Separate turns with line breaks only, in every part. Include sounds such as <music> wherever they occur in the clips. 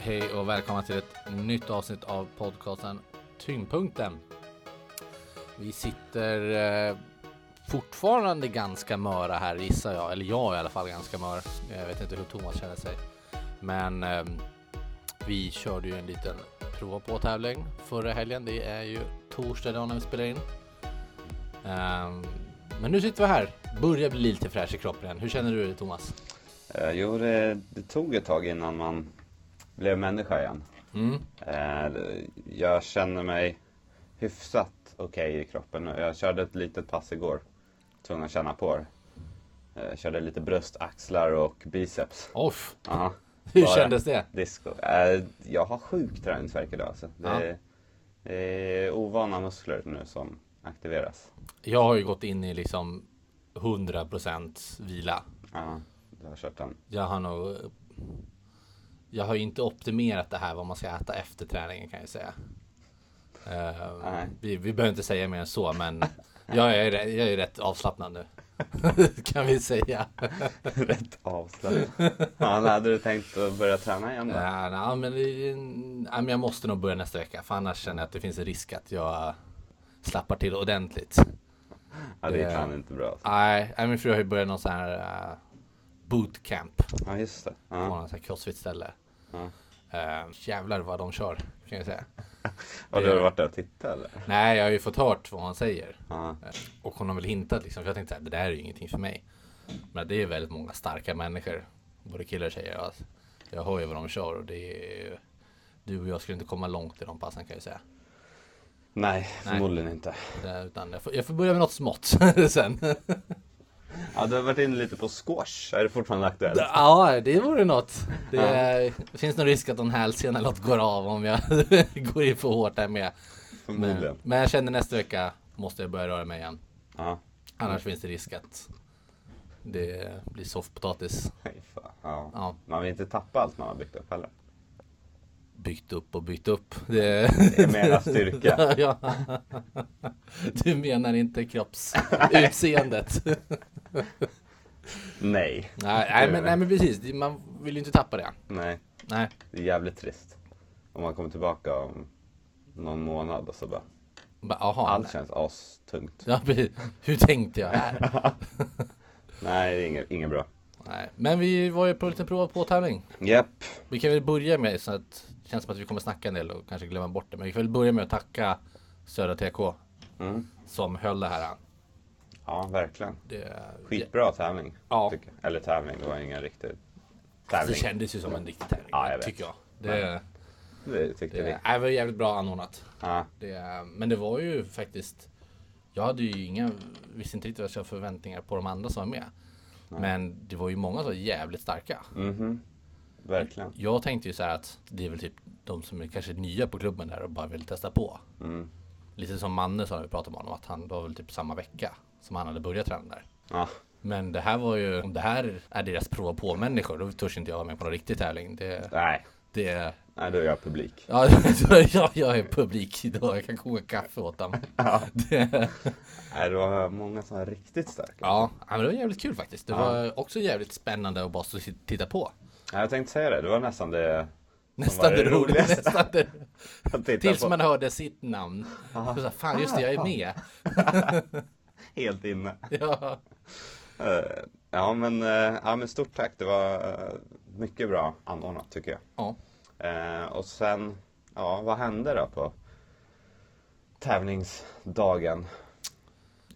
Hej och välkomna till ett nytt avsnitt av podcasten Tyngdpunkten. Vi sitter eh, fortfarande ganska möra här gissar jag, eller jag är i alla fall ganska mör. Jag vet inte hur Thomas känner sig. Men eh, vi körde ju en liten prova på tävling förra helgen. Det är ju torsdag idag när vi spelar in. Ehm, men nu sitter vi här, börjar bli lite fräsch i kroppen igen. Hur känner du dig Thomas?
Eh, Jo, det, det tog ett tag innan man blev människa igen.
Mm.
Eh, Jag känner mig hyfsat okej i kroppen. Jag körde ett litet pass igår. Tvungen att känna på det. Eh, Jag körde lite bröst, axlar och biceps.
Off.
Aha,
Hur
Bara.
kändes det?
disco. Eh, Jag har sjuk träningsvärk idag. Alltså. Det,
Ja.
det är ovana muskler nu som aktiveras.
Jag har ju gått in i liksom 100% vila.
Ja, du har kört den.
Jag har nog... Jag har ju inte optimerat det här vad man ska äta efter träningen kan jag säga. Eh,
Nej.
vi, vi behöver inte säga mer än så men jag är, re- jag är rätt avslappnad nu. <laughs> kan vi säga.
Rätt
<laughs>
avslappnad. Fan, hade du tänkt att börja träna igen då?
Nej, nej, men, det- nej, men jag måste nog börja nästa vecka för annars känner jag att det finns en risk att jag slappar till ordentligt.
Ja, det
det- Ah.
är fan inte bra. Alltså.
Nej, nej, min fru har ju börjat någon sån här eh, bootcamp
Ja, just det.
på
Ja.
något sånt här crossfit-ställe.
Ja.
Eh, jävlar vad de kör, kan jag säga.
Har du varit där och tittat eller?
Nej, jag har ju fått hört vad han säger.
Ja.
Eh, Och hon har väl hintat liksom, för jag tänkte att det där är ju ingenting för mig. Men det är väldigt många starka människor, både killar och tjejer. och Alltså. Jag hör ju vad de kör och det är ju... Du och jag skulle inte komma långt i de passen kan jag säga.
Nej, förmodligen inte.
Eh, Utan jag, får, jag får börja med något smått <laughs>
<laughs>
sen.
Ja, du har varit inne lite på squash. Är det fortfarande aktuellt?
Ja, det vore något. Det är- finns nog risk att någon hälsena eller något går av om jag <laughs> går in för hårt där med. Men,
Förmodligen.
men jag känner nästa vecka måste jag börja röra mig igen.
Ja.
Annars finns det risk att det blir soffpotatis.
Nej, fan. Ja.
Ja.
Man vill inte tappa allt man har byggt upp heller.
Byggt upp och byggt upp. Det...
Det är
<laughs>
mera styrka.
ja. Du menar inte kroppsutseendet?
Nej.
nej, nej, men, nej men precis, man vill ju inte tappa det.
Nej,
Nej,
det är jävligt trist. Om man kommer tillbaka om någon månad och så bara.
Bara, aha.
Allt känns astungt.
Ja, precis. Hur tänkte jag här?
Nej, det är inget, inget bra.
Nej. Men vi var ju på en liten prova på tävling.
Japp.
Vi kan väl börja med, så att det känns som att vi kommer snacka en del och kanske glömma bort det. Men vi kan väl börja med att tacka Södra TK
Mm.
som höll det här.
Ja, verkligen.
Det,
Skitbra tävling.
Ja. Alltså,
tycker jag. Eller tävling, det var ingen riktig
det
tävling.
kändes ju som en riktig tävling,
Ja, jag vet.
tycker jag. Det,
Det tyckte vi.
det, det var jävligt bra anordnat.
Ja.
Det, men det var ju faktiskt Jag hade ju inga Visste inte riktigt vad jag hade för förväntningar på de andra som var med Men det var ju många som var jävligt starka
Mhm. Verkligen.
Jag tänkte ju så här att Det är väl typ de som är kanske nya på klubben där och bara vill testa på
Mm.
Lite som Manne sa när vi pratade om honom att han det var väl typ samma vecka Som han hade börjat träna där
Ja.
Men det här var ju Om det här är deras prova på människor Då törs inte jag vara med på någon riktig tävling Det,
Nej,
det
nej då är jag publik.
Ja, <laughs> jag, jag är publik idag, jag kan koka kaffe åt
<laughs>
dem. Det,
Nej, det var många som var riktigt starka.
Ja, ja, men det var jävligt kul faktiskt. Det var också jävligt spännande att bara stå och titta på.
Ja, jag tänkte säga det, det var nästan det
Nästan
var
det
det
roligaste.
roligaste.
Nästan det,
jag tittade
tills
på.
man hörde sitt namn. Så sa, Fan, just det, jag är med.
Helt inne.
Ja,
Eh, Ja men, eh, ja, men stort tack. Det var eh, mycket bra anordnat tycker jag.
ja.
Eh, Och sen, ja vad hände då på tävlingsdagen?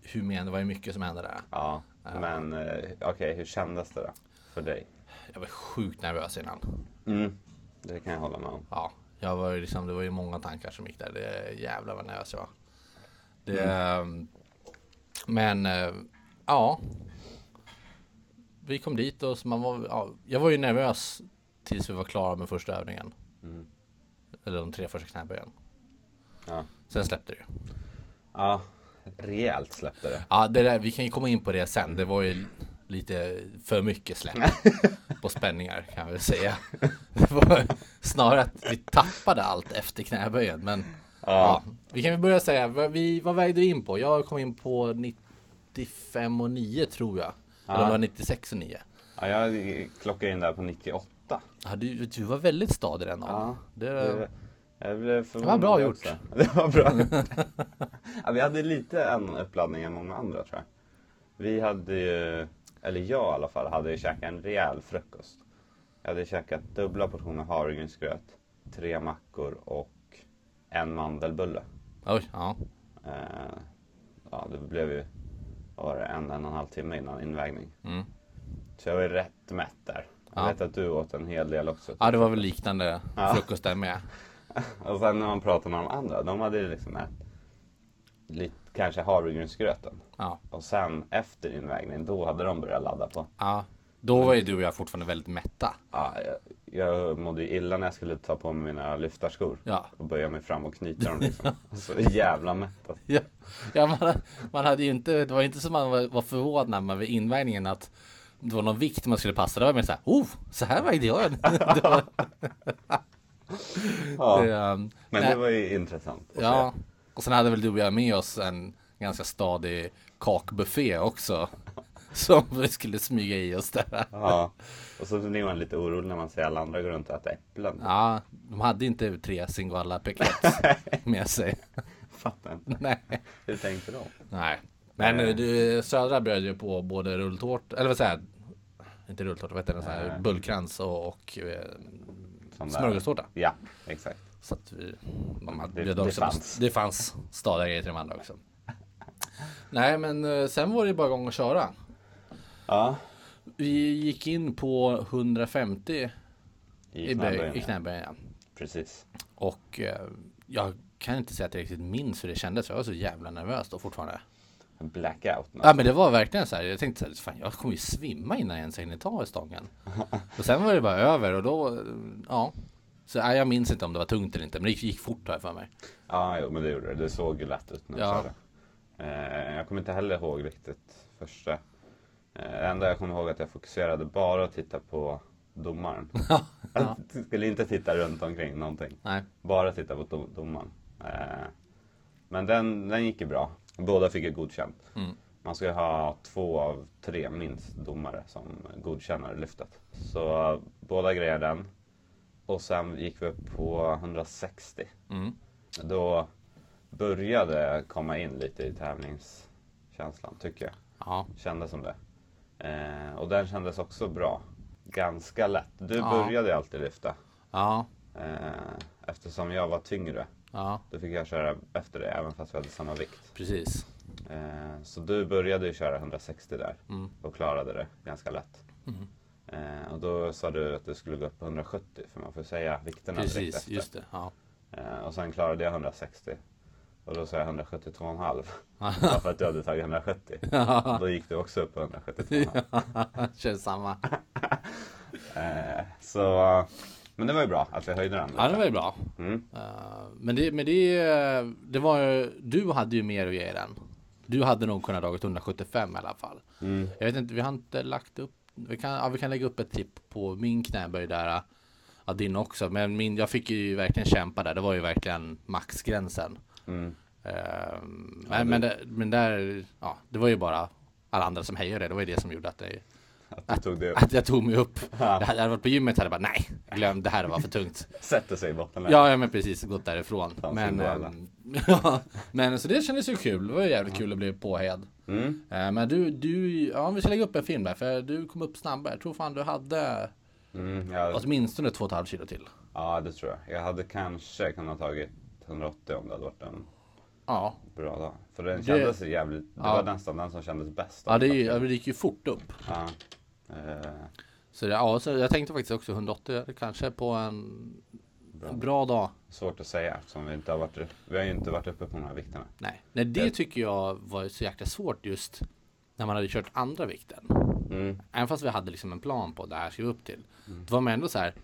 Hur men det var ju mycket som hände där.
Ja, men eh, okej, hur kändes det då? För dig?
Jag var sjukt nervös innan.
Mm, det kan jag hålla med om.
Ja, jag var ju liksom, det var ju många tankar som gick där. Det, jävlar vad nervös jag var. Det, ehm, Men eh, ja. Vi kom dit och så man var, ja, jag var ju nervös tills vi var klara med första övningen. Eller de tre första knäböjen.
Ja,
Sen släppte det ju.
ja rejält släppte det.
Ja, det där, vi kan ju komma in på det sen. Det var ju lite för mycket släpp
<laughs>
på spänningar kan jag väl säga. Det var snarare att vi tappade allt efter knäböjen. Men ja. vi kan väl börja säga, vad, vi, vad vägde vi in på? Jag kom in på 95 och 9 tror jag. Eller det var 96 och 9.
Ja, jag klockade in där på 98 8.
Ja, du, du var väldigt stadig den dagen.
Ja,
det,
Det, jag blev
var
förvånad.
bra gjort.
också. <laughs> Det var
<laughs>
bra gjort. ja, vi hade lite en uppladdning än många andra tror jag. Vi hade ju, eller jag i alla fall, hade ju käkat en rejäl frukost. Jag hade käkat dubbla portioner havregrynsgröt, tre mackor och en mandelbulle.
Oj, ja.
Eh, ja, det blev ju vad var det, en, en och en halv timme innan invägning.
Mm.
Så jag var ju rätt mätt där. Jag
Ja.
vet att du åt en hel del också.
ja, det var väl liknande
Ja.
frukost där med.
Och sen när man pratar med de andra, de hade ju liksom ätit lite, kanske havregrynsgröten.
Ja.
Och sen efter invägning, då hade de börjat ladda på.
ja. Då var ju du och jag fortfarande väldigt mätta.
Ja, jag, jag mådde ju illa när jag skulle ta på mig mina lyftarskor.
Ja.
Och böja mig fram och knyta
<laughs>
dem liksom. Så jävla mätt. alltså.
Ja, ja man, man hade ju inte, det var inte som man var, var förvånad när man vid invägningen att det var någon vikt man skulle passa. Det var mer så här, oh, så här vägde jag. <laughs> det var,
Ja,
det, um,
men
nej,
det var ju intressant att
ja. Och sen hade väl du och jag med oss en ganska stadig kakbuffé också. <laughs> Som vi skulle smyga i oss där.
se. Ja. Och så blir man lite orolig när man ser alla andra gå runt och äta äpplen.
Ja, de hade inte tre singoalla picklets med sig. <laughs>
Fattar inte.
Nej.
Hur tänkte de?
Nej. Men eh, du, Södra bjöd ju på både rulltårta, eller vad säger jag? Inte rulltårta, vad heter den? Så här, bullkrans och, och eh,
Sån där-
smörgåstårta.
Ja, exakt.
Så att vi, de hade,
Det-
bjöd
det
också på-
fanns.
det fanns stadiga grejer till de andra också. Nej, men eh, sen var det ju bara igång och köra.
Ja,
Vi gick in på 150
i,
i,
knäböjen,
böj, i
ja.
knäböjen. Ja.
Precis.
Och eh, jag kan inte säga att jag riktigt minns hur det kändes. för Jag var så jävla nervös då fortfarande.
Blackout.
Ja men det var verkligen så här. Jag tänkte så här, fan jag kommer ju svimma innan jag ens hinner ta i stången. Och sen var det bara över och då, ja. Så nej, jag minns inte om det var tungt eller inte, men det gick, gick fort har jag för mig.
Ja, jo, men det gjorde det. Det såg ju lätt ut när du
Ja.
körde. Eh, jag kommer inte heller ihåg riktigt första. Eh, det enda jag kommer ihåg är att jag fokuserade bara att titta på domaren. Jag skulle inte titta runt omkring någonting.
Nej.
Bara titta på dom- domaren. Eh, men den, den gick ju bra. Båda fick ju godkänt. Man ska ju ha två av tre minst domare som godkänner lyftet. Så eh, båda grejer den. Och sen gick vi upp på 160.
Mm.
Då började jag komma in lite i tävlingskänslan, tycker jag.
Ja.
Kändes som det. Eh, och den kändes också bra. Ganska lätt. Du
Ja.
började ju alltid lyfta.
Ja.
Eh, eftersom jag var tyngre.
Ja.
Då fick jag köra efter det, även fast vi hade samma vikt.
Precis.
Eh, så du började ju köra 160 där
Mm.
och klarade det ganska lätt. Eh, och då sa du att du skulle gå upp på 170, för man får säga vikterna direkt
Precis.
efter.
Just det. Ja. <laughs>
Eh, och sen klarade jag 160. Och då sa jag 172,5.
<laughs>
Bara för att du hade tagit 170. Då gick du också upp på 172,5.
Kör samma.
Eh, så, eh, men det var ju bra att vi höjde den.
Ja det var ju bra.
Mm.
Eh, Men det, men det, eh, det var ju, du hade ju mer att ge i den. Du hade nog kunnat dragit 175 i alla fall.
Mm.
Jag vet inte, vi har inte lagt upp. Vi kan, ja, vi kan lägga upp ett tipp på min knäböj där. eh, Ja, din också. Men min, jag fick ju verkligen kämpa där. Det var ju verkligen maxgränsen.
Mm.
Eh, men, men, det, men där, ja, det var ju bara alla andra som hejade. Det var ju det som gjorde att, det,
Att du
<laughs>
tog det upp.
att jag tog mig upp.
Ja.
Det hade jag varit på gymmet hade jag bara, nej, glöm det här var för tungt.
Sätter sig i bottenläget.
Ja, ja men precis, gått därifrån.
Fan,
Men,
synd om alla.
ehm, <laughs> ja, men så det kändes ju kul. Det var ju jävligt kul att bli påhejad.
Mm.
Eh, Men du, du, ja vi ska lägga upp en film där för du kom upp snabbare. Jag tror fan du hade
Mm, ja,
åtminstone 2,5 kilo till.
ja, det tror jag. Jag hade kanske kunnat tagit 180 om det hade varit en
Ja,
bra dag. För den kändes jävligt... Det
Ja.
var nästan den som kändes bäst.
ja det, är ju- ja, det gick ju fort upp.
Ja. Eh,
Så, det, ja, så jag tänkte faktiskt också 180 kanske på en bra, dag.
svårt att säga eftersom vi inte har varit... Vi har ju inte varit uppe på de här vikterna.
Nej. Nej, det tycker jag var så jäkla svårt just när man hade kört andra vikten.
Mm.
Även fast vi hade liksom en plan på det här ska vi upp till. Det var man ändå så här.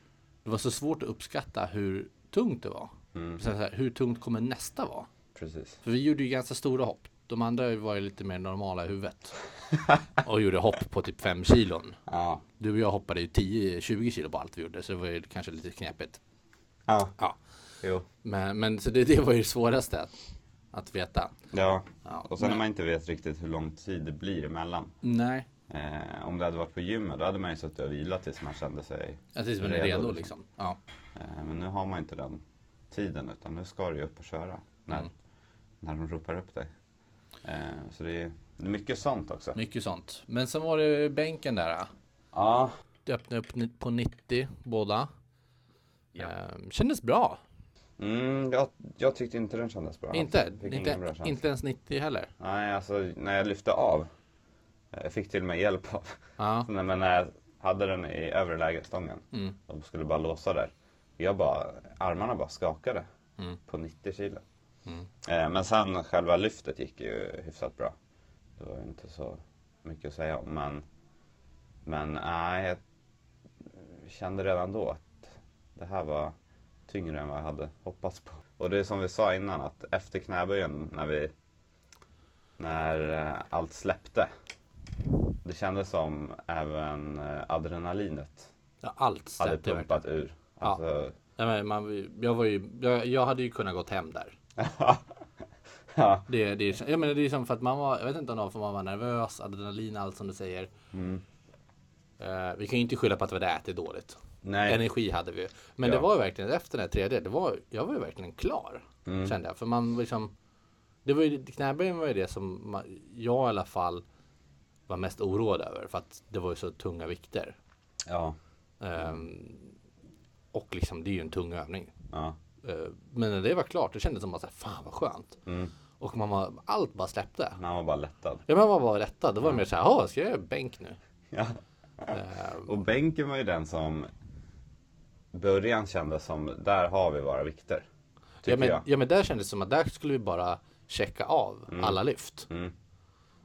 Det var så svårt att uppskatta hur tungt det var. Sen så här, hur tungt kommer nästa vara?
Precis.
För vi gjorde ju ganska stora hopp. De andra var ju lite mer normala i huvudet. Och gjorde hopp på typ 5 kilon.
Ja.
Du och jag hoppade ju 10-20 kilo på allt vi gjorde. Så det var ju kanske lite knepigt.
Ja.
Ja.
Jo.
Men, men så det, det var ju det svåraste att, att veta.
Ja.
Ja.
Och sen när man inte vet riktigt hur lång tid det blir emellan.
Nej.
Eh, om det hade varit på gymmet då hade man ju suttit och vilat tills man kände sig
Att tills man är
Redo,
redo
liksom.
liksom. Ja.
Eh, Men nu har man inte den tiden utan nu ska du ju upp och köra när,
Mm.
när de ropar upp dig. Eh, Så det är det är mycket sånt också.
Mycket sånt. Men sen var det bänken där. ja.
Ja,
Det öppnade upp ni- på 90 båda.
Ja.
Ehm, kändes bra.
mm, jag, jag tyckte inte den kändes bra.
inte,
Jag fick ingen bra
inte,
känsla.
inte ens 90 heller.
Nej, alltså när jag lyfte av. eh, Jag fick till och med hjälp av.
Ja.
Nej, men när jag hade den i övre lägerstången
Mm.
och skulle bara låsa där. Jag bara, armarna bara skakade
Mm.
på 90 kilo.
Mm.
Eh, Men sen själva lyftet gick ju hyfsat bra. Det var ju inte så mycket att säga om. Men, men nej, jag kände redan då att det här var tyngre än vad jag hade hoppats på. Och det är som vi sa innan att efter knäböjen när vi när eh, allt släppte. Det kändes som även eh, adrenalinet
Ja, allt
hade
släppte verkligen.
pumpat ur. Alltså, <laughs>
Nej, men man, jag, var ju, jag, jag hade ju kunnat gått hem där.
ja.
Det, det, är- jag menar, det är som för att man var, jag vet inte om det var för man var nervös, adrenalin, allt som du säger.
Mm.
Eh, vi kan ju inte skylla på att vi hade ätit dåligt.
Nej.
Energi hade vi ju. Men
Ja.
det var ju verkligen efter den här tredje, det var, jag var ju verkligen klar.
Mm.
Kände jag. För man liksom, det var ju, knäböjen var ju det som man, jag i alla fall var mest oroad över. För att det var ju så tunga vikter.
Ja.
Ehm, och liksom, det är ju en tung övning.
ja.
Eh, Men när det var klart, det kändes som att så här, fan vad skönt.
Mm.
Och man var, allt bara släppte.
Man var bara lättad.
Ja, men man var lättad. Det var mer så här, "Jaha, ska jag göra bänk nu?
Ja.
Eh,
Och bänken var ju den som början kändes som, där har vi våra vikter. Tycker
ja, men,
jag.
ja, men där kändes det som att där skulle vi bara checka av
Mm.
alla lyft.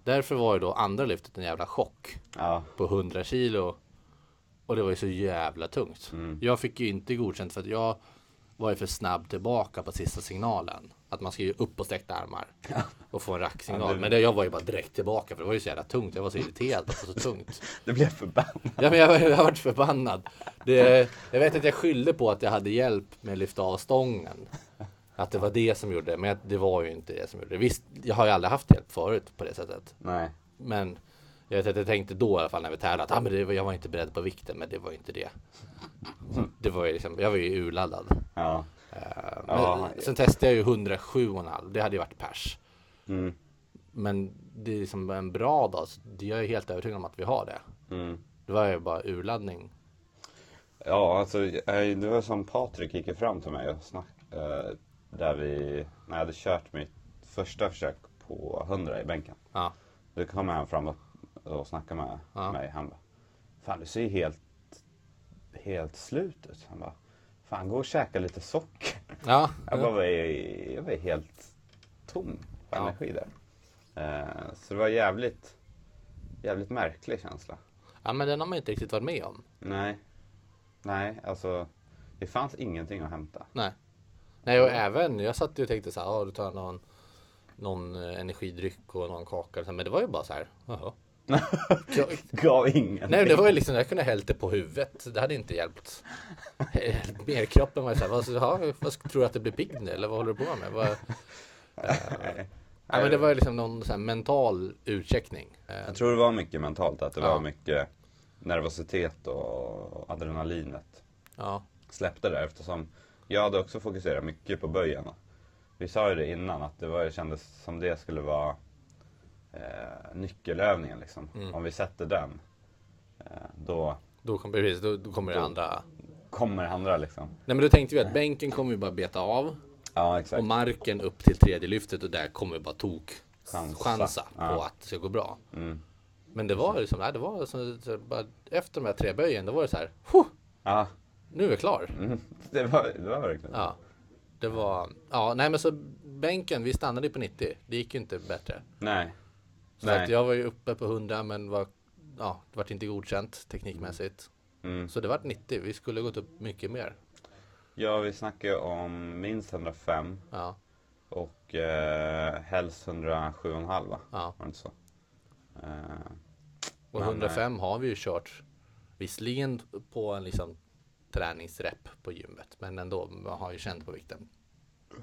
Därför var ju då andra lyftet en jävla chock
Ja.
på 100 kilo. Och det var ju så jävla tungt.
Mm.
Jag fick ju inte godkänt för att jag var ju för snabb tillbaka på sista signalen. Att man ska ju upp på sträckta
<laughs>
armar och få en racksignal. Men det, jag var ju bara direkt tillbaka för det var ju så jävla tungt. Jag var så irriterad på att det var så tungt.
Det blev förbannat.
Ja, men jag, jag har varit förbannad. Det, jag vet att jag skyllde på att jag hade hjälp med att lyfta av stången. Att det var det som gjorde det, men det var ju inte det som gjorde det. Visst, jag har ju aldrig haft hjälp förut på det sättet.
Nej.
Men jag vet att jag tänkte då i alla fall när vi tävlade att ah, men det, var- jag var inte beredd på vikten, men det var ju inte det. Det var ju liksom, jag var ju urladdad.
Ja.
Eh, Men,
Ja.
Sen testade jag ju 107,5, det hade ju varit pers.
Mm.
Men det är liksom en bra dag, så jag är helt övertygad om att vi har det.
Mm.
Det var ju bara urladdning.
Ja, alltså eh, det var som Patrik gick ju fram till mig och snackade. Där vi, när jag hade kört mitt första försök på 100 i bänken.
Ja.
Då kom han fram och, och snackade med
Ja.
mig. Han bara, fan du ser ju helt, helt slut ut. Han bara, fan gå och käka lite socker.
Ja,
Jag bara var, ju- jag var ju helt tom på
Ja.
energi där. Eh, så det var jävligt, jävligt märklig känsla.
ja, men den har man inte riktigt varit med om.
Nej, nej alltså det fanns ingenting att hämta.
Nej. Nej, och även jag satt ju och tänkte så här, ja, du tar någon, någon eh, energidryck och någon kaka, och så här, men det var ju bara så här, jaha. Jag-
Gav ingen.
Nej, det var ju liksom, jag kunde ha hällt det på huvudet, så det hade inte hjälpt. <laughs> Mer kroppen var ju så här, vad, ja, vad ska- tror du att det blir pigg nu, eller vad håller du på med? Vad, eh, ja, men det var ju liksom någon så här mental utcheckning. Eh,
Jag tror det var mycket mentalt, att det
Ja.
var mycket nervositet och adrenalinet
Ja,
släppte där eftersom jag hade också fokuserat mycket på böjen. Vi sa ju det innan att det, var, det kändes som det skulle vara eh, nyckelövningen liksom. Om vi sätter den, eh, då
då kommer, precis, då, då kommer det andra.
kommer andra liksom.
Nej, men då tänkte vi att bänken kommer ju bara beta av.
Ja, exakt.
och marken upp till tredje lyftet och där kommer bara tok
Chansa.
chansa, på
Ja. Mm.
att det ska gå bra. Men det var liksom, nej, det var som, så, bara, efter de här tre böjen, då var det så här, "Huh,
Ja,
nu är jag klar.
Mm. <laughs> det var, det var verkligen
Ja, det var, ja, nej men så bänken, vi stannade ju på 90, det gick ju inte bättre.
Nej.
Så
Nej.
att jag var ju uppe på 100 men var, ja, det vart inte godkänt teknikmässigt.
Mm.
Så det vart 90, vi skulle gått upp mycket mer.
Ja, vi snackade om minst 105
Ja,
och eh, helst 107,5 va?
Ja.
Var det inte så? Eh,
och 105 har vi ju kört, visserligen på en liksom träningsrep på gymmet, men ändå, man har ju känt på vikten.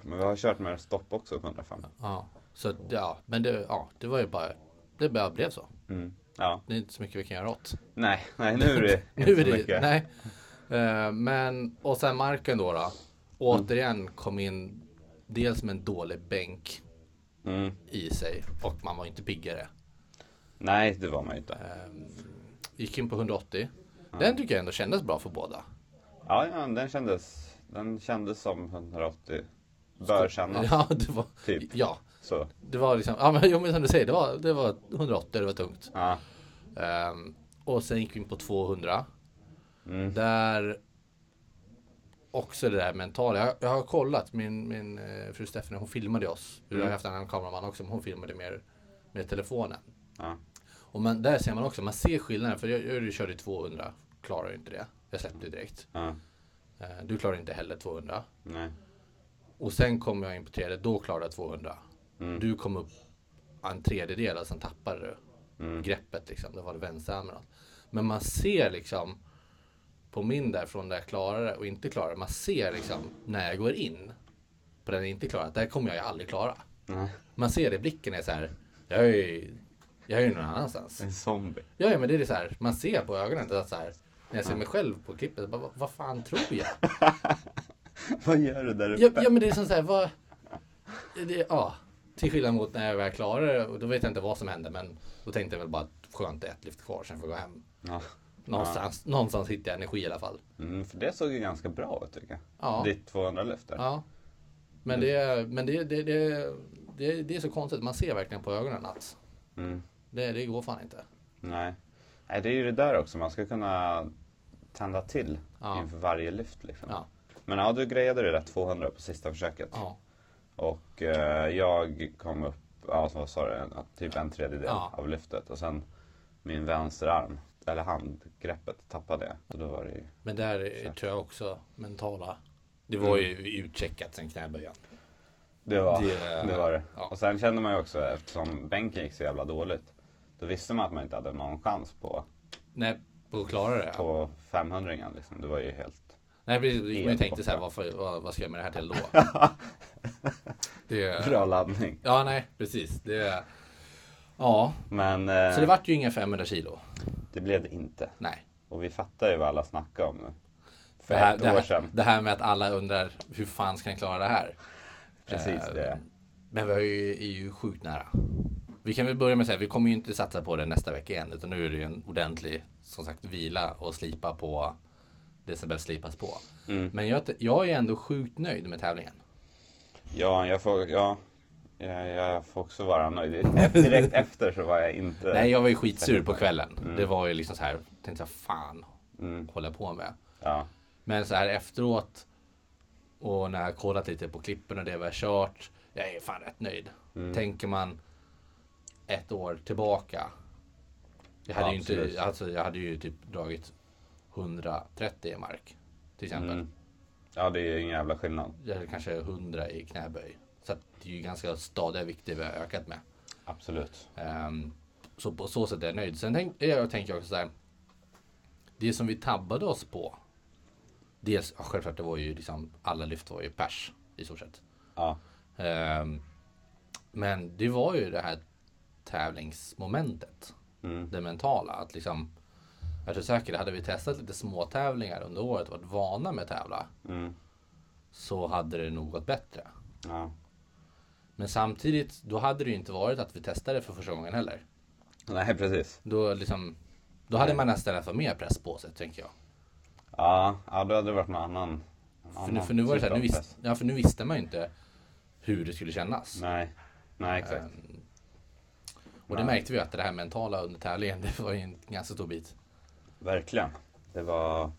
men vi har kört med stopp också på 105.
Ja, så att, ja, men det, ja, det var ju bara, det bara blev så.
Mm. Ja.
Det är inte så mycket vi kan göra åt.
Nej, nej, nu
<laughs>
är det inte
Nu är
så
det,
mycket.
nej. Eh, Men, och sen marken då. då. Återigen kom in dels med en dålig bänk
Mm.
i sig och man var inte piggare.
Nej, det var man ju inte.
Gick in på 180. Den tycker jag ändå kändes bra för båda.
Ja, ja den, kändes, den kändes som 180 bör kännas.
<laughs> Ja, det var,
Typ.
ja,
Så,
det var liksom, ja men, jo, men som du säger, det var, det var 180, det var tungt.
ja.
Ehm, och sen gick vi in på 200. Där också det där mentala. Jag, jag har kollat, min, min eh, fru Stephanie hon filmade oss. Vi har haft en annan kameraman också, men hon filmade mer med telefonen.
ja.
Och man, där ser man också, man ser skillnaden. För jag, jag körde ju 200, klarar inte det. Jag släppte ju direkt.
ja.
Eh, Du klarar inte heller 200.
Nej.
Och sen kom jag in på tredje, då klarade jag 200. Du kom upp en tredjedel och sen tappade du greppet liksom. Det var det vänsterarmen. Men man ser liksom på min där från där jag klarade och inte klarade. Man ser liksom när jag går in på den jag inte klarade. Där kommer jag ju aldrig klara.
Nej.
Man ser det, i blicken är så här. Jag är ju, jag är ju någon annanstans.
En zombie.
Ja, ja, men det är det så här. Man ser på ögonen att så här. När jag ser mig själv på klippet, jag bara, vad, vad fan tror jag?
<laughs> Vad gör du där uppe?
Ja, ja men det är som så här, vad... Det, ja, till skillnad mot när jag väl klarade det, och då vet jag inte vad som hände, men då tänkte jag väl bara att skönt det är ett lyft kvar, sen får jag gå hem.
Ja.
Någonstans, någonstans hittar jag energi i alla fall.
Mm, för det såg ju ganska bra ut tycker jag.
Ja.
Ditt 200 lyft där.
Ja. Men, det, men det, det, det, det, det är så konstigt, man ser verkligen på ögonen att
Mm.
det, det går fan inte.
Nej. Nej, det är ju det där också. Man ska kunna tända till
Ja.
inför varje lyft. Liksom.
Ja.
Men ja, du grejade det där 200 på sista försöket.
Ja.
Och eh, jag kom upp, ja vad sa du, en- typ en tredjedel
Ja.
av lyftet. Och sen min vänsterarm, eller handgreppet, tappade jag. Och då var det ju,
Men där är, tror jag också mentala. Det var ju utcheckat sen knäböjan.
det var
Det-
det. var det.
ja.
Och sen kände man ju också, eftersom bänken gick så jävla dåligt. Då visste man att man inte hade någon chans på,
Nej, på att klara det. ja.
på 500 liksom. Det var ju helt...
Nej, precis. Man
Helt
tänkte så här, varför, vad, vad ska jag med det här
<laughs>
till då? det,
Bra laddning.
ja, nej, precis. Det, ja,
Men eh,
så det vart ju inga 500 kilo.
det blev det inte.
Nej.
Och vi fattar ju vad alla snackar om nu. För
Det här,
ett
det,
år
här,
sedan.
det här med att alla undrar hur fan ska jag klara det här?
Precis
Eh,
det.
Men vi är ju, är ju sjukt nära. Vi kan väl börja med att säga, vi kommer ju inte satsa på det nästa vecka igen, utan nu är det ju en ordentlig, som sagt, vila och slipa på det som behöver slipas på.
Mm.
Men jag, jag är ändå sjukt nöjd med tävlingen.
Ja, jag får, ja, jag, jag får också
<laughs>
vara nöjd. E- Direkt efter så var jag inte...
Nej, jag var ju skitsur på kvällen.
Mm.
Det var ju liksom så här, tänkte jag fan håller jag på med.
Ja,
Men så här efteråt och när jag har kollat lite på klippen och det vi har kört. Jag är fan rätt nöjd.
Mm.
Tänker man ett år tillbaka. Jag hade, ju,
Absolut.
inte, alltså, jag hade ju typ dragit 130 i mark. Till exempel.
Mm. ja, det är ju en jävla skillnad.
Eller kanske 100 i knäböj. Så att det är ju ganska stadiga vikter vi har ökat med.
Absolut.
Ehm, så på så sätt är jag nöjd. Sen tänk, eh, jag tänker också så här. Det som vi tabbade oss på. Dels, ja, självklart, det var ju liksom alla lyft var ju pers i stort sett.
Ja,
Ehm, men det var ju det här tävlingsmomentet. Det mentala. Att liksom, jag tror säkert, hade vi testat lite små tävlingar under året och varit vana med att tävla. Så hade det nog gått bättre.
ja.
Men samtidigt, då hade det ju inte varit att vi testade för första gången heller.
Nej, precis.
Då, liksom, då hade man nästan haft mer press på sig, tänker jag.
Ja, ja då hade det varit någon annan. en
För nu,
annan
för nu, var det så här,
typ
nu,
av
visst,
press.
ja, för nu visste man ju inte hur det skulle kännas.
Nej, nej exakt.
Ehm. Och det märkte vi ju att det här mentala under tävlingen, <laughs> det var ju en ganska stor bit.
Verkligen. Det var...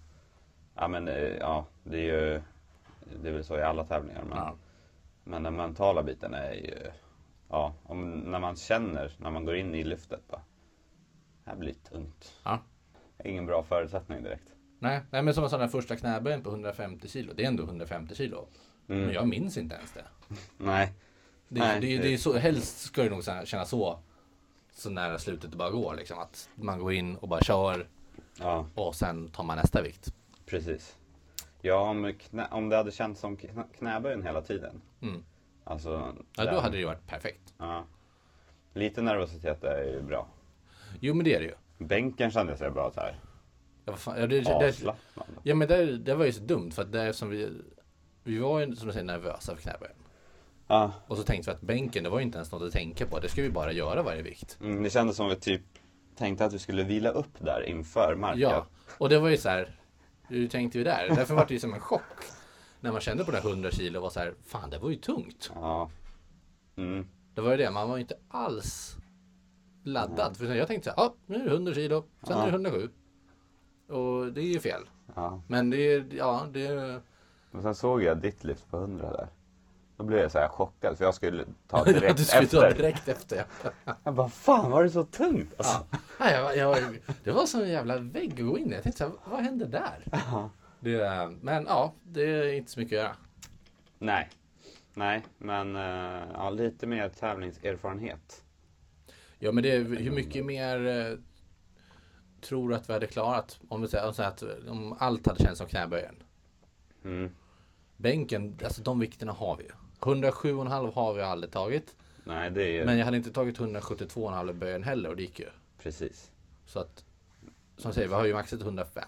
Ja, men eh, ja, det är ju... Det är väl så i alla tävlingar. Men,
Ja.
men den mentala biten är ju... Ja, om, när man känner, när man går in i lyftet bara. Det här blir tungt.
Ja.
Ingen bra förutsättning direkt.
Nej, nej, men som jag sa, den första knäböjen på 150 kilo, det är ändå 150 kilo. Men jag minns inte ens det.
Nej.
Det,
Mm. Nej,
det, det,
det-
är så, helst ska det nog så här- kännas så, så nära slutet det bara går. Liksom, att man går in och bara kör
Ja,
och sen tar man nästa vikt.
precis. Ja, om, knä, om det hade känts som knä, knäböjen hela tiden.
Mm.
Alltså...
Ja, då
den-
hade det ju varit perfekt.
ja. Lite nervositet är ju bra.
Jo men det är det ju.
Bänken kände sig bra så här.
Ja, vad fan, ja, det, det, det,
Avslappnad.
ja men det, det var ju så dumt för att det är som vi... Vi var ju som du säger nervösa för knäböjen.
Ja,
Och så tänkte vi att bänken, det var ju inte ens något att tänka på. Det ska vi bara göra varje vikt.
mm, det kändes som vi typ tänkte att vi skulle vila upp där inför marken.
Ja, och det var ju så här. Hur tänkte vi där? Därför var det ju som en chock. När man kände på det här 100 kilo och var så här, fan det var ju tungt.
Ja. Mm.
Det var ju det, man var ju inte alls laddad. För jag tänkte så här, ja nu är det 100 kilo, sen är det 107. Och det är ju fel.
ja.
Men det är, ja det är...
Men sen såg jag ditt lyft på 100 där. Då blev jag så här chockad för jag skulle
<laughs>
ta
Ja,
direkt
du skulle ta
efter.
direkt efter. ja.
Jag bara, fan var det så tungt? Alltså.
Nej, jag, jag, det var som en jävla vägg att gå in i. Jag tänkte så här, vad hände där? Det, är- men ja, det är inte så mycket att göra.
Nej. Nej, men eh, ja, lite mer tävlingserfarenhet.
Ja, men det, är- hur mycket mer eh, tror du att vi hade klarat? Om, vi säger, om, så här att, eh, om allt hade känts som knäböjen.
Mm.
Bänken, alltså de vikterna har vi ju. 107,5 har vi aldrig tagit.
Nej, det är
Men jag hade inte tagit 172,5 i böjen heller och det gick ju.
precis.
Så att, som jag säger, vi har ju maxat 105.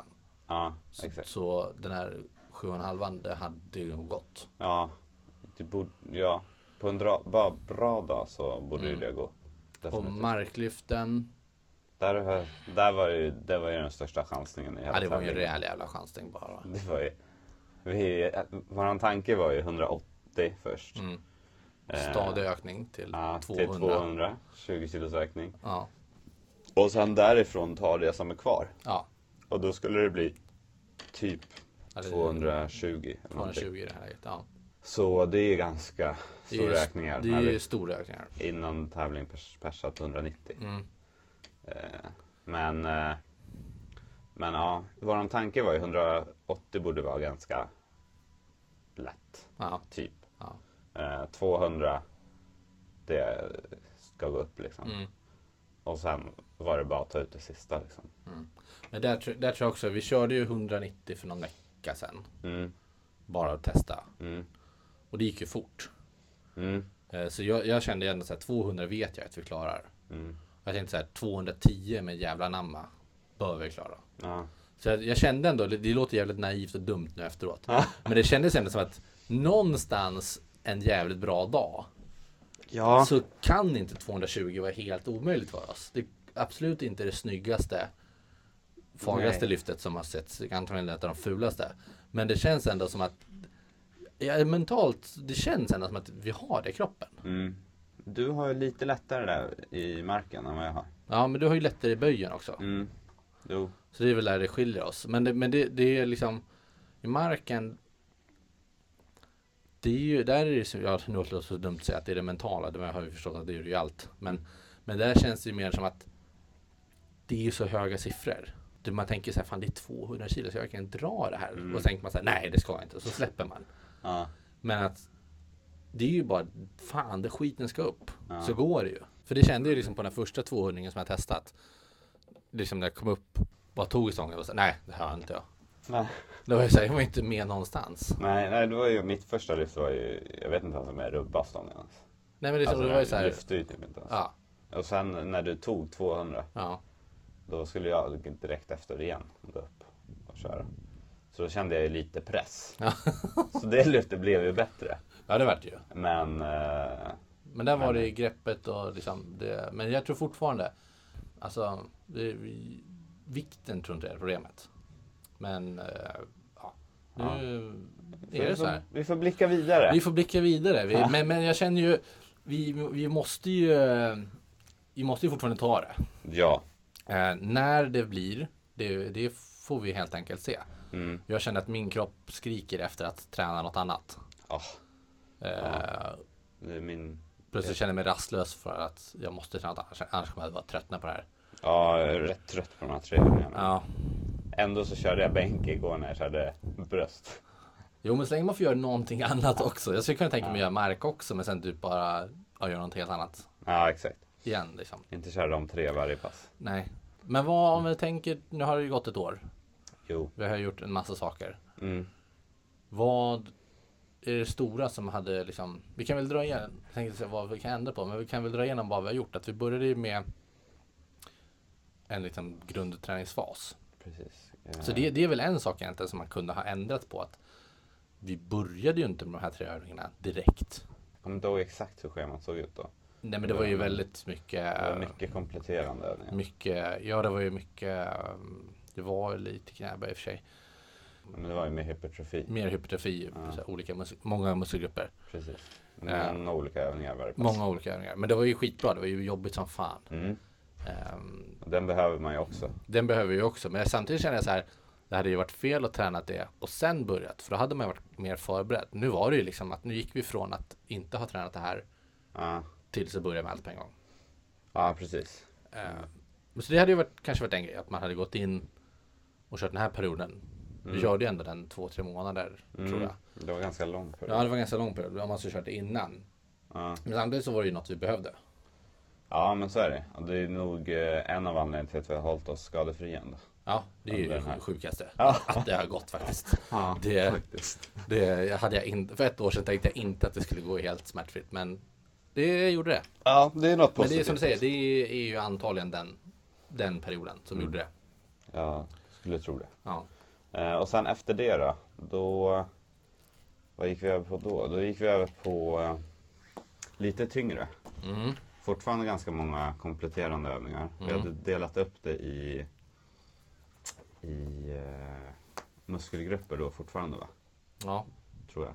Ja,
Så,
exakt.
så den här 7,5 det hade ju gått.
Ja, det borde, ja. På en dra, bara bra dag så borde
Mm.
ju det gå.
Och
Definitivt.
marklyften,
Där, har- där var ju, det var ju den största chansningen i hela
ja det var ju en
tävlingen.
rejäl jävla chansning bara.
Det var ju, vi, eh, våran tanke var ju 180 först.
Mm.
Eh,
Stadig ökning till
ja,
200.
Till 200, 20 kilos ökning.
Ja,
Och sen därifrån ta det som är kvar.
ja.
Och då skulle det bli typ
Eller
220. eller någonting.
220 i det här läget. Ja.
Så det är ganska
Det är ju-
stora ökningar.
Det
när
är
vi-
ju stora ökningar.
innan tävling pers- persat 190.
Mm.
Eh, men, eh, men ja, vår tanke var ju 180 borde vara ganska lätt,
Ja,
typ.
ja.
Eh, 200, det ska gå upp liksom.
Mm.
Och sen var det bara att ta ut det sista liksom.
Men där, tr- där tror jag också, vi körde ju 190 för någon vecka sedan.
Mm,
Bara att testa.
mm,
Och det gick ju fort.
mm,
Eh, Så jag, jag kände ju ändå så här, 200 vet jag att vi klarar.
mm.
Jag tänkte så här, 210 med jävla namma bör vi klara.
Ja,
Så jag, jag kände ändå, det- det låter jävligt naivt och dumt nu efteråt. Men det kändes ändå som att någonstans en jävligt bra dag
ja.
så kan inte 220 vara helt omöjligt för oss. Det är absolut inte det snyggaste, fagraste
Nej.
lyftet som har setts, antagligen ett av de fulaste. Men det känns ändå som att, ja, mentalt, det känns ändå som att vi har det i kroppen.
Mm. Du har ju lite lättare där i marken än vad jag har.
Ja, men du har ju lättare i böjen också.
Mm. Jo.
Så det är väl där det skiljer oss. Men det, men det, det är liksom i marken. Det är ju, där är det så, ja, nu låter det så dumt att säga att det är det mentala. Det har jag ju förstått att det är det ju allt. Men, men där känns det ju mer som att det är ju så höga siffror. Det- Man tänker så här, fan det är 200 kilo så jag kan dra det här. Och så tänker man så här, nej det ska jag inte. Och så släpper man.
Ja.
Men att det är ju bara, fan det skiten ska upp.
Ja.
Så går det ju. För det kände jag liksom på den första 200 som jag testat. Liksom när jag kom upp, bara tog i stången och så nej det här har inte jag.
Nej.
Det var ju såhär, jag var inte med någonstans.
Nej, nej, det var ju mitt första lyft var ju, jag vet inte ens om jag rubbade stången ens.
Nej men liksom,
Alltså,
det var ju
jag
såhär,
lyfte ju typ inte ens.
ja,
Och sen när du tog 200,
ja,
då skulle jag direkt efter igen gå upp och köra. Så då kände jag ju lite press.
Ja.
Så det lyftet blev ju bättre.
ja det vart det ju.
Men, eh,
Men där var det i greppet och liksom det, men jag tror fortfarande, alltså, det, vi- vikten tror inte jag är problemet. Men, eh, ja, nu är
vi,
det så här.
får, vi får blicka vidare.
Vi får blicka vidare. Vi, men, men jag känner ju, vi, vi måste ju, eh, vi måste ju fortfarande ta det.
Ja.
Eh, när det blir, det, det får vi helt enkelt se.
Mm.
Jag känner att min kropp skriker efter att träna något annat.
Ah,
Eh,
det är min...
Plötsligt känner jag mig rastlös för att jag måste träna något annat, annars kommer jag bara tröttna på det här.
Ja, jag är rätt trött på de här tre övningarna.
Ja.
Ändå så körde jag bänk igår när jag körde bröst.
Jo men så länge man får göra någonting annat också. Jag skulle kunna tänka mig att göra mark också men sen typ bara ja, göra något helt annat
Ja, exakt.
igen liksom.
Inte köra de tre varje pass.
Nej. Men vad om vi tänker, nu har det ju gått ett år.
Jo.
Vi har gjort en massa saker.
Mm.
Vad är det stora som hade liksom, vi kan väl dra igen, jag tänkte se vad vi kan ändra på, men vi kan väl dra igenom vad vi har gjort. Att vi började ju med en liksom grundträningsfas.
Precis. Eh,
Så det, det är väl en sak egentligen som man kunde ha ändrat på. att Vi började ju inte med de här tre övningarna direkt.
Jag kommer inte ihåg exakt hur schemat såg ut då.
Nej men det var ju väldigt mycket.
Mm. Det var mycket kompletterande övningar.
Mycket, ja det var ju mycket. um, Det var lite knäböj i och för sig.
Men det var ju med hypertrofi.
Mer hypertrofi, så här, olika mus- många muskelgrupper.
Precis. Men olika övningar varje pass.
Många olika övningar. Men det var ju skitbra, det var ju jobbigt som fan.
Mm.
Ehm,
Och den behöver man ju också.
den behöver vi också, men samtidigt känner jag så här. Det hade ju varit fel att träna det och sen börjat, för då hade man ju varit mer förberedd. Nu var det ju liksom att nu gick vi från att inte ha tränat det här
Ja,
tills att börja med allt på en gång.
ja precis.
Ehm, men så det hade ju varit, kanske varit en grej, att man hade gått in och kört den här perioden. Vi körde ju ändå den två, tre månader, tror jag.
Mm. Det var ganska lång period.
Ja, det var en ganska lång period, om man skulle kört det innan.
Ja.
Men samtidigt så var det ju något vi behövde.
Ja, men så är det. Och det är nog eh, en av anledningarna till att vi har hållit oss skadefria ändå.
Ja, det är ju
Ja,
det
den här.
sjukaste.
Ja.
Att det har gått faktiskt.
Ja,
Det, det hade jag inte. För ett år sedan tänkte jag inte att det skulle gå helt smärtfritt, men det gjorde det.
Ja, det är något
Men
positivt.
det är som du säger, det är ju antagligen den, den perioden
Mm.
som gjorde det.
Ja, skulle tro det.
Ja.
Eh, och sen efter det då, då... Vad gick vi över på då? Då gick vi över på eh, lite tyngre.
Mm.
Fortfarande ganska många kompletterande övningar. Vi hade delat upp det i, i eh, muskelgrupper då fortfarande va?
ja.
tror jag.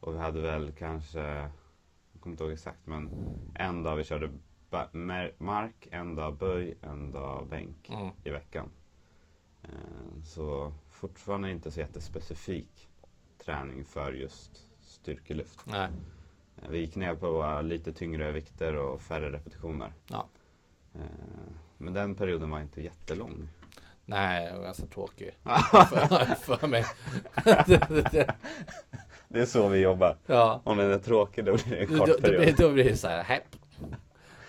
Och vi hade väl kanske, jag kommer inte ihåg exakt, men en dag vi körde ba- mer- mark, en dag böj, en dag bänk
Mm.
i veckan. Eh, Så fortfarande inte så jättespecifik träning för just styrkelyft.
Nej.
Eh, Vi gick ner på våra lite tyngre vikter och färre repetitioner.
Ja.
Eh, Men den perioden var inte jättelång.
Nej, jag var ganska
<laughs>
tråkig. för, för mig. <laughs> Det- det- det-
Det är så vi jobbar.
ja.
Om den är tråkig då blir det en
Då, då,
kort
blir-
period.
då blir det så här, häpp.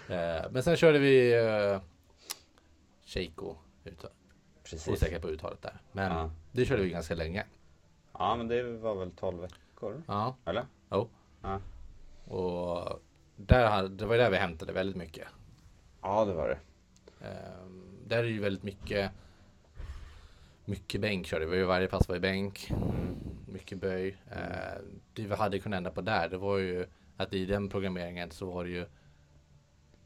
Eh, Men sen körde vi eh, Sheiko. Uttal.
Precis.
Osäker på uttalet där. Men
Ja.
det körde vi ganska länge.
Ja men det var väl 12 veckor?
Ja.
Eller?
Jo.
Ja.
Och där, hade- det var ju där vi hämtade väldigt mycket.
Ja, det var det.
Ehm, där är ju väldigt mycket Mycket bänk körde vi, varje pass var ju bänk. Mycket böj. Ehm, det vi hade kunnat ändra på där, det var ju att i den programmeringen så var det ju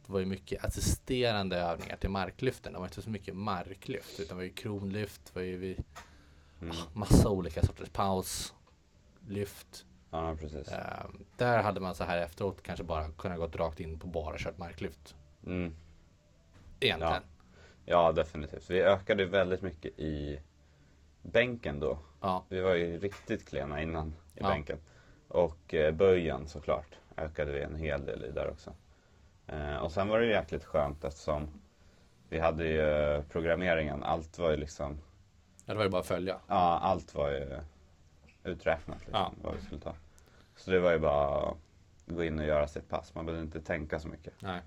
Det var ju mycket assisterande övningar till marklyften. Det var inte så mycket marklyft, utan det var ju kronlyft, det var ju vi, ah, massa olika sorters paus, lyft.
Ja, precis.
Ehm, där hade man så här efteråt kanske bara kunnat gått rakt in på bara kört marklyft.
Mm.
Egentligen.
Ja, definitivt. Vi ökade väldigt mycket i bänken då.
Ja.
Vi var ju riktigt klena innan i
Ja.
bänken. Och eh, böjen såklart ökade vi en hel del i där också. Eh, och sen var det ju jäkligt skönt eftersom vi hade ju eh, programmeringen. Allt var ju liksom,
ja, det var ju bara att följa.
ja allt var ju uträknat liksom,
Ja.
vad vi skulle ta. Så det var ju bara att gå in och göra sitt pass. Man behövde inte tänka så mycket.
Nej.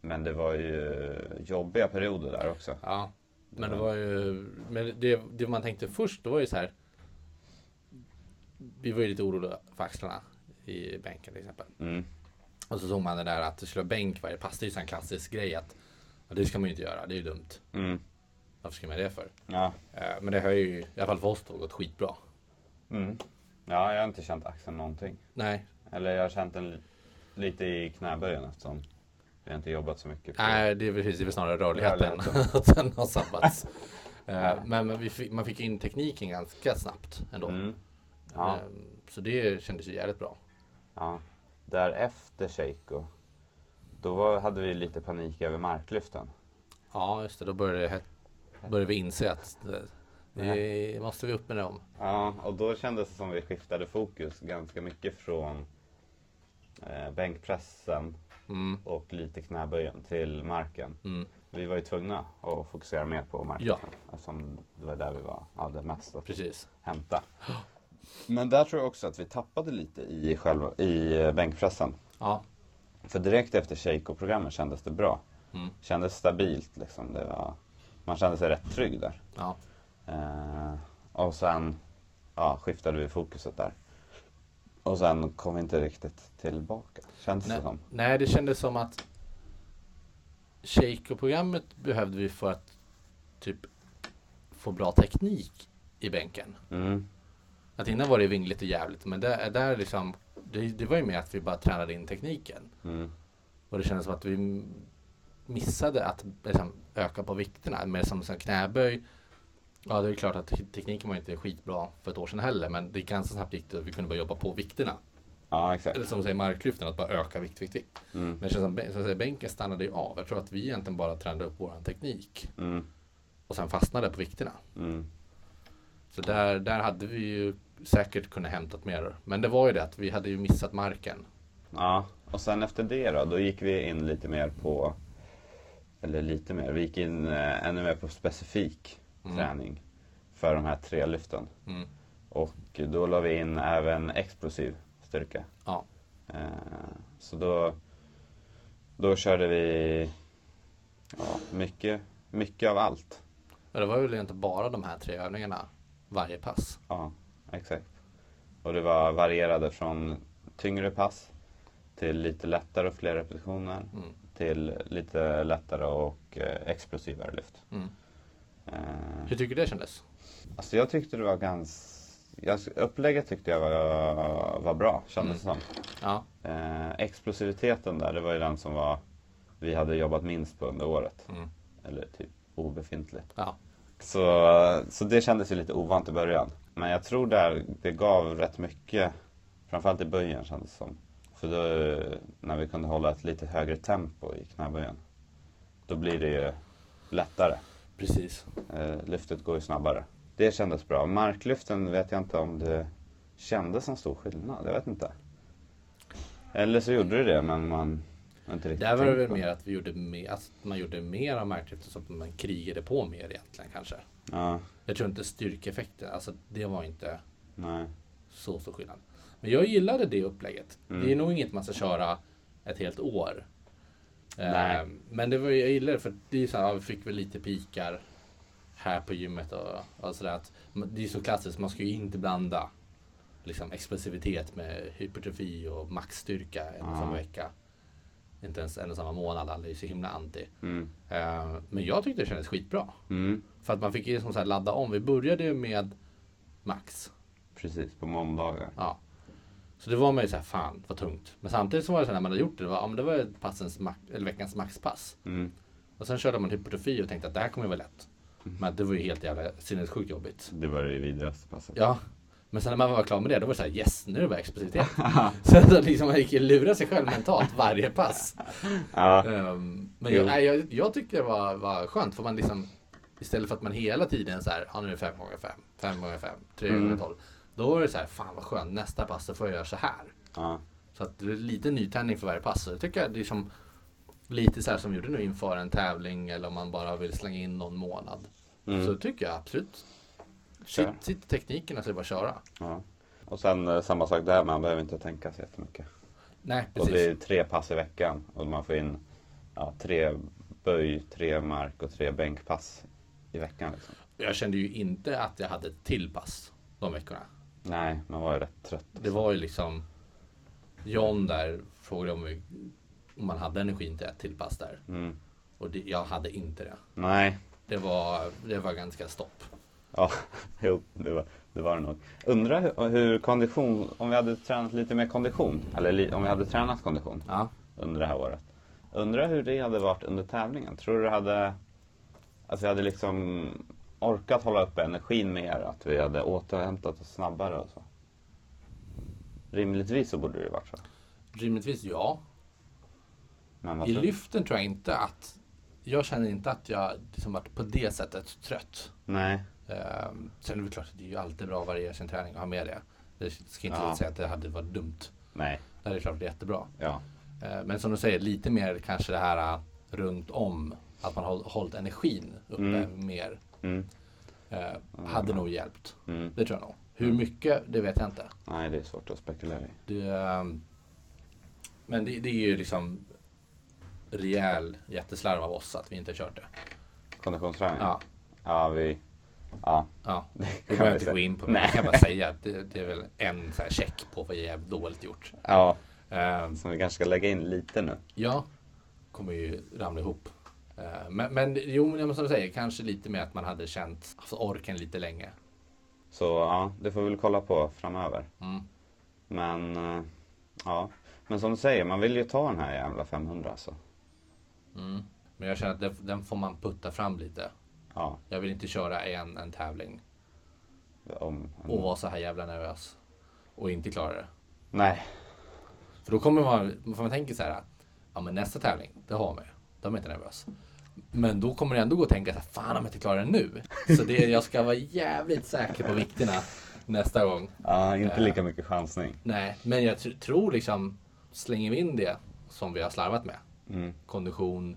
Men det var ju eh, jobbiga perioder där också.
Ja. Men det var ju, men det, det man tänkte först, det var ju så här. Vi var ju lite oroliga för axlarna i bänken till exempel.
Mm.
Och så såg man det där att det skulle vara bänk varje pass. Det är ju så här en klassisk grej att ja, det ska man ju inte göra, det är ju dumt.
Mm.
Varför ska man det för?
Ja.
Eh, Men det har ju, i alla fall för oss då, gått skitbra.
Mm. ja, jag har inte känt axeln någonting.
Nej,
Eller jag har känt den li- lite i knäböjen eftersom jag har inte jobbat så mycket. på-
Nej, det är precis, det är väl snarare rörligheten. <laughs>
Rörligheten.
att den har sabbats. Eh, Men men vi fick, man fick in tekniken ganska snabbt ändå.
Mm. Ja.
Eh, Så det kändes ju jävligt bra.
ja. Därefter Sheiko, då var, hade vi lite panik över marklyften.
Ja, just det. Då började, det- började vi inse att det, det måste vi upp med dem.
Ja, och då kändes det som vi skiftade fokus ganska mycket från eh, bänkpressen
Mm.
och lite knäböjen till marken.
Mm.
Vi var ju tvungna att fokusera mer på marken
Ja.
eftersom det var där vi var, hade mest att
Precis. <gasps>
hämta. Men där tror jag också att vi tappade lite i, själva, i eh, bänkpressen.
Ja,
För direkt efter Sheiko-programmet kändes det bra.
Mm.
Kändes stabilt liksom. Det var, man kände sig rätt trygg där.
ja,
Eh, och sen ja, skiftade vi fokuset där. Och sen kom vi inte riktigt tillbaka, kändes
Nej,
det som.
nej, det kändes som att Shaker-programmet behövde vi för att typ få bra teknik i bänken.
Mm.
Att innan var det vingligt och jävligt, men där, där liksom, det, det var ju mer att vi bara tränade in tekniken.
Mm.
Och det kändes som att vi missade att liksom, öka på vikterna. Mer som, som knäböj. Ja, det är klart att tekniken var inte skitbra för ett år sedan heller, men det ganska snabbt gick det att vi kunde börja jobba på vikterna.
Ja, exakt.
Eller som säger marklyften, att bara öka vikt, vikt, vikt.
Mm.
Men det känns som, bän- som säger, bänken stannade ju av. Jag tror att vi egentligen bara tränade upp vår teknik
Mm.
och sen fastnade på vikterna.
Mm.
Så där, där hade vi ju säkert kunnat hämtat mer. Men det var ju det att vi hade ju missat marken.
Ja, och sen efter det då, då gick vi in lite mer på, eller lite mer, vi gick in eh, ännu mer på specifik träning för de här tre lyften.
Mm.
Och då la vi in även explosiv styrka.
Ja.
Eh, så då, då körde vi ja, mycket, mycket av allt.
Men det var väl inte bara de här tre övningarna varje pass.
Ja, exakt. Och det var varierade från tyngre pass till lite lättare och fler repetitioner
Mm.
till lite lättare och eh, explosivare lyft.
Mm.
Eh,
Hur tycker du det kändes?
alltså jag tyckte det var ganska... Jag, upplägget tyckte jag var, var bra, kändes
Mm.
det som.
Ja.
Eh, explosiviteten där, det var ju den som var, vi hade jobbat minst på under året.
Mm.
Eller typ obefintlig.
Ja.
Så, så det kändes ju lite ovant i början. Men jag tror där det gav rätt mycket, framförallt i böjen kändes det som. För då, när vi kunde hålla ett lite högre tempo i knäböjen, då blir det ju lättare.
Precis.
Eh, lyftet går ju snabbare. Det kändes bra. Marklyften vet jag inte om det kändes som stor skillnad, jag vet inte. Eller så gjorde det det, men man har inte riktigt
Där var det
tänkt
väl
på
mer att, vi gjorde mer, att man gjorde mer av marklyften så att man krigade på mer egentligen kanske.
Ja,
Jag tror inte styrkeeffekten, alltså det var inte
nej.
så stor skillnad. Men jag gillade det upplägget. Det är nog inget man ska köra ett helt år. Eh,
Nej.
Men det var jag gillade det, för det är så här, ja, vi fick väl lite pikar här på gymmet och, och sådär. att- men Det är så klassiskt, man ska ju inte blanda liksom explosivitet med hypertrofi och maxstyrka en och samma vecka. Inte ens en och samma månad, alla är ju så himla anti.
Mm.
Eh, Men jag tyckte det kändes skitbra.
Mm.
För att man fick ju som så här ladda om. Vi började ju med max.
Precis, på måndagar.
Ja. Så det var man ju såhär, fan vad tungt. Men samtidigt så var det så här, när man hade gjort det, det var, ja, men det var ju passens max, eller veckans maxpass.
Mm.
Och sen körde man hypertrofi och tänkte att det här kommer ju vara lätt. Men det var ju helt jävla sinnessjukt jobbigt.
Det var det vidrigaste passet.
Ja. Men sen när man var klar med det, då var det såhär, yes nu är det bara <laughs> explosivitet. så att man liksom, man gick ju lura sig själv mentalt varje pass.
Ja.
Ehm, men
Jo.
jag, nej, jag, jag tyckte det var, var skönt, för man liksom Istället för att man hela tiden så här, ja nu är det 5 gånger 5 5 gånger 5 3 gånger 12 Då var det så här, fan vad skönt, nästa pass så får jag göra så här.
ja.
Så att det är lite nytändning för varje pass. Så det tycker jag det är som lite så här som vi gjorde nu inför en tävling eller om man bara vill slänga in någon månad. Så tycker jag absolut. Sitt,
Mm. Kör.
sitt tekniken att det är bara att köra.
ja. Och sen eh, samma sak där, man behöver inte tänka så jättemycket.
Nej,
Och
precis.
det är tre pass i veckan och man får in ja, tre böj, tre mark och tre bänkpass i veckan. Liksom.
Jag kände ju inte att jag hade ett till pass de veckorna.
Nej, man var ju rätt trött.
Det var ju liksom John där frågade om, vi, om man hade energin till ett till pass där.
Mm.
Och det, jag hade inte det.
Nej,
Det var, det var ganska stopp.
ja, <laughs> jo, det var det var det nog. Undrar hur, hur kondition, om vi hade tränat lite mer kondition, eller li, om vi hade tränat kondition
Ja.
under det här året. Undrar hur det hade varit under tävlingen. Tror du det hade, att vi hade liksom orkat hålla uppe energin mer? Att vi hade återhämtat oss snabbare och så? Rimligtvis så borde det ju varit så.
Rimligtvis ja,
Men vad
I
tror du?
lyften tror jag inte att... Jag känner inte att jag liksom varit på det sättet trött.
Nej.
Um, sen är det klart att det är ju alltid bra att variera sin träning och ha med det. Det ska inte
Ja.
säga att det hade varit dumt.
Nej.
Det är klart det är jättebra.
Ja.
Eh, men som du säger, lite mer kanske det här eh, runt om. Att man har hållit energin uppe mer.
Mm.
eh, hade nog hjälpt.
Mm.
Det tror jag nog. Hur mycket, det vet jag inte.
Nej, det är svårt att spekulera i.
Det, ehm, men det, det är ju liksom rejäl jätteslarv av oss att vi inte har kört det.
Konditionsträning?
Ja.
Ja, vi... Ja.
Ja, vi behöver
kan man
inte
säga.
gå in på det. Jag kan bara säga att det, det är väl en så här check på vad jävligt dåligt gjort.
Ja.
Ehm,
Som vi kanske ska lägga in lite nu.
jag kommer ju ramla ihop Eh, Men, men jo, men som du säger, kanske lite mer att man hade känt alltså, orken lite länge.
Så ja, det får vi väl kolla på framöver.
Mm.
Men eh, ja, men som du säger, man vill ju ta den här jävla 500 alltså.
Men jag känner att den, den får man putta fram lite.
Ja,
Jag vill inte köra en, en tävling
om...
och vara så här jävla nervös och inte klara det.
Nej,
För då kommer man, för man tänker så här, ja men nästa tävling, det har man ju. Då är man inte nervös. Men då kommer det ändå gå att tänka så här, fan om jag inte klarar det nu. Så det, jag ska vara jävligt säker på vikterna nästa gång.
ja, inte lika mycket chansning.
Nej, men jag tr- tror liksom, slänger vi in det som vi har slarvat med. Kondition,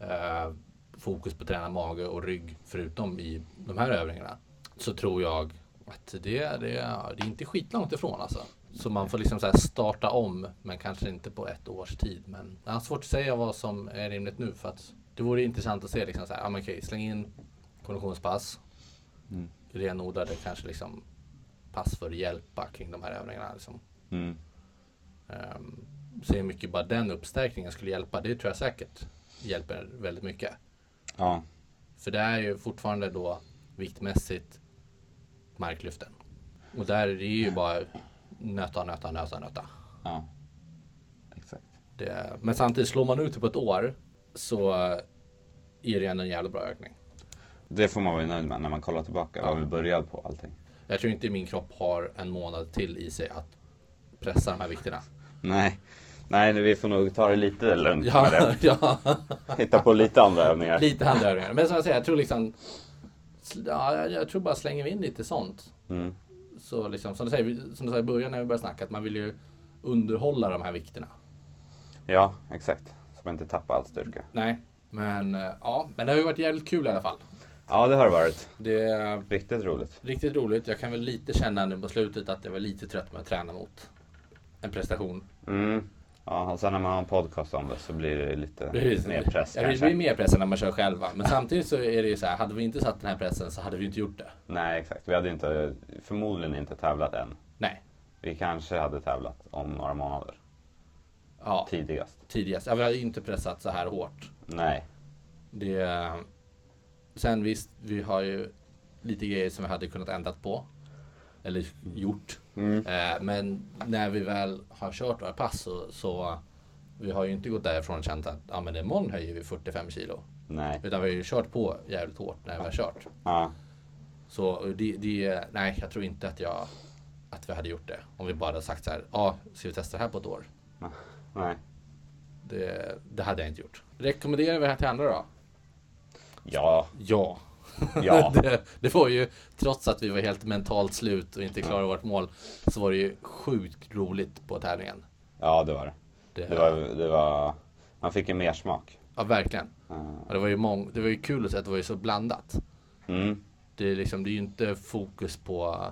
eh, fokus på träna mage och rygg, förutom i de här övningarna. Så tror jag att det, det, det är inte skitlångt ifrån alltså. Så man får liksom så här starta om, men kanske inte på ett års tid. Men jag har svårt att säga vad som är rimligt nu för att det vore intressant att se liksom så här, ja men okej, släng in konditionspass. Renodlade kanske liksom pass för att hjälpa kring de här övningarna. Liksom.
Mm.
Ehm, så hur mycket bara den uppstärkningen skulle hjälpa, det tror jag säkert hjälper väldigt mycket.
Ja,
För det är ju fortfarande då viktmässigt marklyften. Och där är det ju bara nöta, nöta, nöta, nöta.
ja. Exakt.
Det, men samtidigt, slår man ut det på ett år så är det ändå en jävla bra ökning.
Det får man vara nöjd med när man kollar tillbaka vad vi började på och allting.
Jag tror inte min kropp har en månad till i sig att pressa de här vikterna.
Nej, nej vi får nog ta det lite lugnt med
Ja,
det.
<laughs> ja.
Hitta på lite andra övningar.
Lite handövningar. Men som jag säger, jag tror liksom... Ja, jag- jag tror bara slänger vi in lite sånt.
Mm.
Så liksom, som du säger, vi- som du sa i början när vi började snacka, att man vill ju underhålla de här vikterna.
Ja, exakt. Så man inte tappar all styrka.
Nej. Men eh, ja, men det har ju varit jävligt kul i alla fall.
Ja, det har varit
Det är
riktigt roligt.
riktigt roligt. Jag kan väl lite känna nu på slutet att jag var lite trött med att träna mot en prestation.
Mm. Ja, och sen när man har en podcast om det så blir det lite
Precis.
mer press
Ja, det blir
kanske.
mer press än när man kör själva. Men samtidigt så är det ju så här, hade vi inte satt den här pressen så hade vi inte gjort det.
Nej, exakt. Vi hade inte, förmodligen inte tävlat än.
Nej.
Vi kanske hade tävlat om några månader
Ja,
tidigast.
tidigast. Ja, vi hade ju inte pressat så här hårt.
Nej.
Det... Sen visst, vi har ju lite grejer som vi hade kunnat ändrat på. Eller gjort. Eh, Men när vi väl har kört våra pass så, så vi har ju inte gått därifrån och känt att ja, men imorgon höjer vi 45 kilo.
Nej.
Utan vi har ju kört på jävligt hårt när vi har kört.
Ja.
Så det, det, nej, jag tror inte att jag att vi hade gjort det. Om vi bara hade sagt så här, ja, ska vi testa det här på ett år?
Nej.
Det, det hade jag inte gjort. Rekommenderar vi det här till andra då?
Ja.
Ja.
Ja.
<laughs> det, det var ju, trots att vi var helt mentalt slut och inte klarade vårt mål, så var det ju sjukt roligt på tävlingen.
Ja, det var det.
Det,
Det var, det var, man fick en mersmak.
Ja, verkligen.
Ja.
Och det, var ju mång, det var ju kul att se att det var ju så blandat.
Mm.
Det är, liksom, det är ju inte fokus på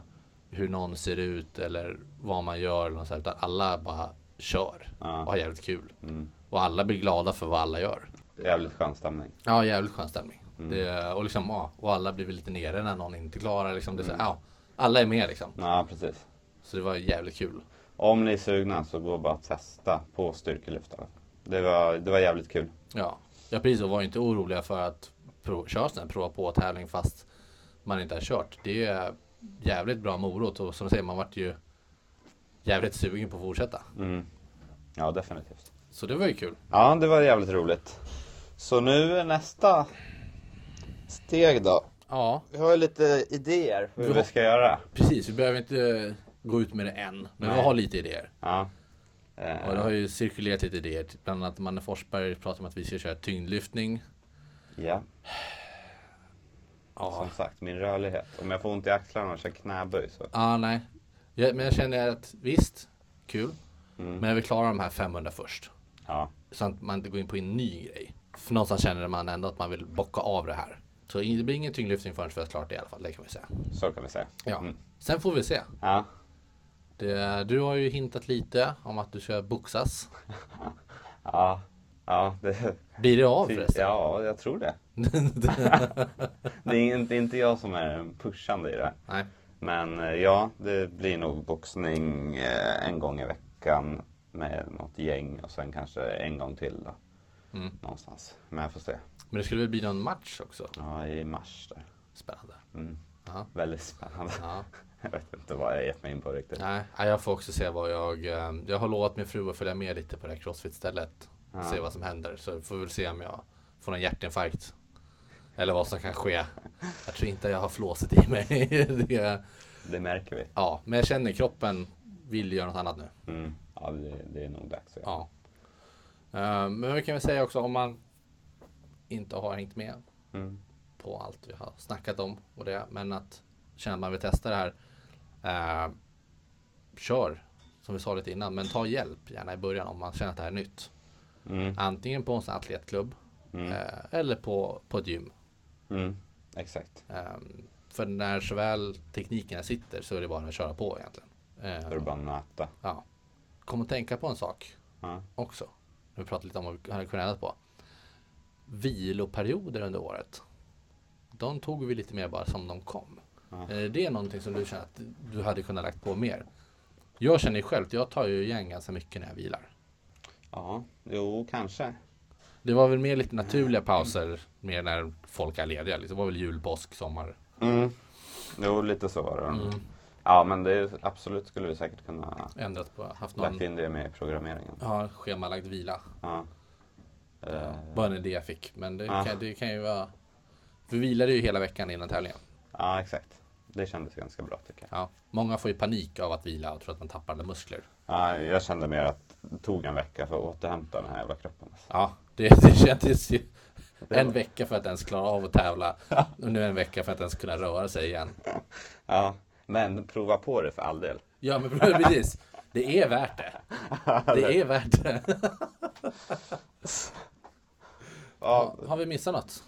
hur någon ser ut eller vad man gör, eller något så här, utan alla bara kör
Ja.
och har jävligt kul.
Mm.
Och alla blir glada för vad alla gör.
Jävligt skön stämning.
Ja, jävligt skön stämning.
Mm.
Det, och, liksom, ja, och alla blir väl lite nere när någon inte klarar. Liksom, det, är så,
Mm.
ja, alla är med liksom.
Ja, precis.
Så det var jävligt kul.
Om ni är sugna så gå bara och testa på styrkelyftare. Det var, det var jävligt kul.
Ja, jag precis och var inte oroliga för att prov, köra sån här prova på tävling fast man inte har kört. Det är jävligt bra morot och som jag säger, man vart ju jävligt sugen på att fortsätta.
Mm. Ja, definitivt.
Så det var ju kul.
Ja, det var jävligt roligt. Så nu är nästa steg då.
Ja,
Vi har ju lite idéer hur vi ska göra.
precis. Vi behöver inte gå ut med det än, men vi
Nej.
har lite idéer.
Ja. Eh,
Och det har ju cirkulerat lite idéer. Typ Bland annat Manne Forsberg pratar om att vi ska köra tyngdlyftning.
ja,
Ja,
som sagt, min rörlighet. Om jag får ont i axlarna och kör knäböj så.
ah, nej. Ja, men jag känner att visst, kul. Men jag vill klara de här 500 först.
Ja,
Så att man inte går in på en ny grej. För någonstans känner man ändå att man vill bocka av det här. Så det blir ingen tyngdlyftning förrän vi har klart det i alla fall, det kan vi säga.
så kan vi säga.
Ja.
Mm.
Sen får vi se.
Ja.
Det, du har ju hintat lite om att du ska boxas.
Ja. Ja, det,
Blir det av förresten?
ja, jag tror det. Det är inte, inte jag som är den pushande i det. här.
<laughs> Nej.
Men eh, ja, det blir nog boxning eh, en gång i veckan med något gäng och sen kanske en gång till då. Någonstans. Men jag får se.
Men det skulle väl bli någon match också?
Ja, i mars där.
Spännande.
Mm.
Ja.
Väldigt spännande.
Ja.
<laughs> Jag vet inte vad jag gett mig in på riktigt.
Nej, nej, jag får också se vad jag... eh, Jag har lovat min fru att följa med lite på det här crossfit-stället.
Ja.
Se vad som händer. Så får vi väl se om jag får en hjärtinfarkt. Eller vad som kan ske. Jag tror inte jag har flåset i mig. <laughs> det,
Det märker vi.
ja, men jag känner kroppen vill göra något annat nu.
Mm. Ja, det, det är nog dags. Ja.
Ja. Eh, Men vi kan väl säga också om man inte har hängt med
Mm.
på allt vi har snackat om och det. Men att känner att man vill testa det här. Eh, kör som vi sa lite innan, men ta hjälp gärna i början om man känner att det här är nytt.
Mm.
Antingen på en sån här atletklubb
Mm.
eh, eller på, på ett gym.
Mm. Exakt.
Eh, för när såväl teknikerna sitter så är det bara att köra på egentligen.
Då är det
Eh,
bara att nöta.
ja. Kom och tänka på en sak
Ja.
också. Vi pratade lite om vad vi hade kunnat ändra på. Viloperioder under året. De tog vi lite mer bara som de kom.
Ja.
Är det någonting som du känner att du hade kunnat lagt på mer? Jag känner ju själv, jag tar ju igen ganska mycket när jag vilar.
ja, jo, kanske.
Det var väl mer lite naturliga
Mm.
pauser, mer när folk är lediga. Liksom. Det var väl jul, påsk, sommar.
Mm. Jo, lite så var det. Ja, men det är, absolut skulle vi säkert kunna
Ändrat på, haft någon
lagt in det med i programmeringen.
ja, schemalagd vila.
Ja. Eh,
Bara en idé jag fick. Men det,
Ja.
kan, det kan ju vara... Vi vilade ju hela veckan innan tävlingen.
ja, exakt. Det kändes ganska bra tycker jag.
Ja. Många får ju panik av att vila och tror att man tappar alla muskler.
Ja, jag kände mer att det tog en vecka för att återhämta den här jävla kroppen. alltså.
Ja, det, det kändes ju en vecka för att ens klara av att tävla och nu en vecka för att ens kunna röra sig igen.
Ja, men prova på det för all del.
Ja, men precis. Det är värt
<laughs>
det. Det är värt det.
Ja,
Har vi missat något?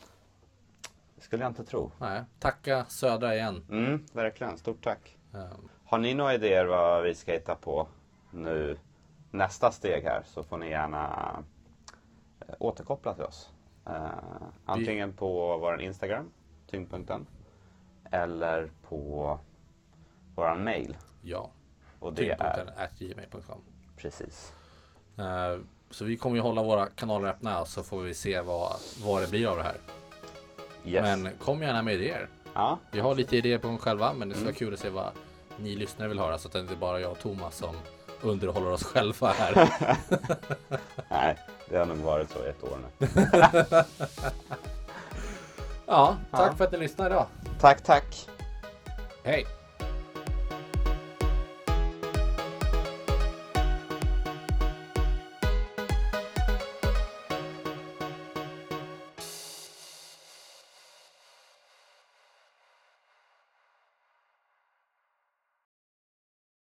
skulle jag inte tro.
Nej. Tacka Södra igen.
Mm, verkligen. Stort tack.
Ehm,
Har ni några idéer vad vi ska hitta på nu nästa steg här så får ni gärna eh, återkoppla till oss. Eh, antingen på vår Instagram, tyngdpunkten, eller på vår mail.
Ja,
Och det är
tyngdpunkten at gmail.com.
precis.
Ehm, Så vi kommer ju hålla våra kanaler öppna så får vi se vad, vad det blir av det här.
Yes.
Men kom gärna med idéer.
Ja,
Vi har lite idéer på gång själva, men det ska vara kul att se vad ni lyssnare vill höra så att det inte bara jag och Thomas som underhåller oss själva här.
nej, det har nog varit så i ett år nu.
Ja, tack
Ja.
för att ni lyssnade idag.
Tack, tack.
Hej!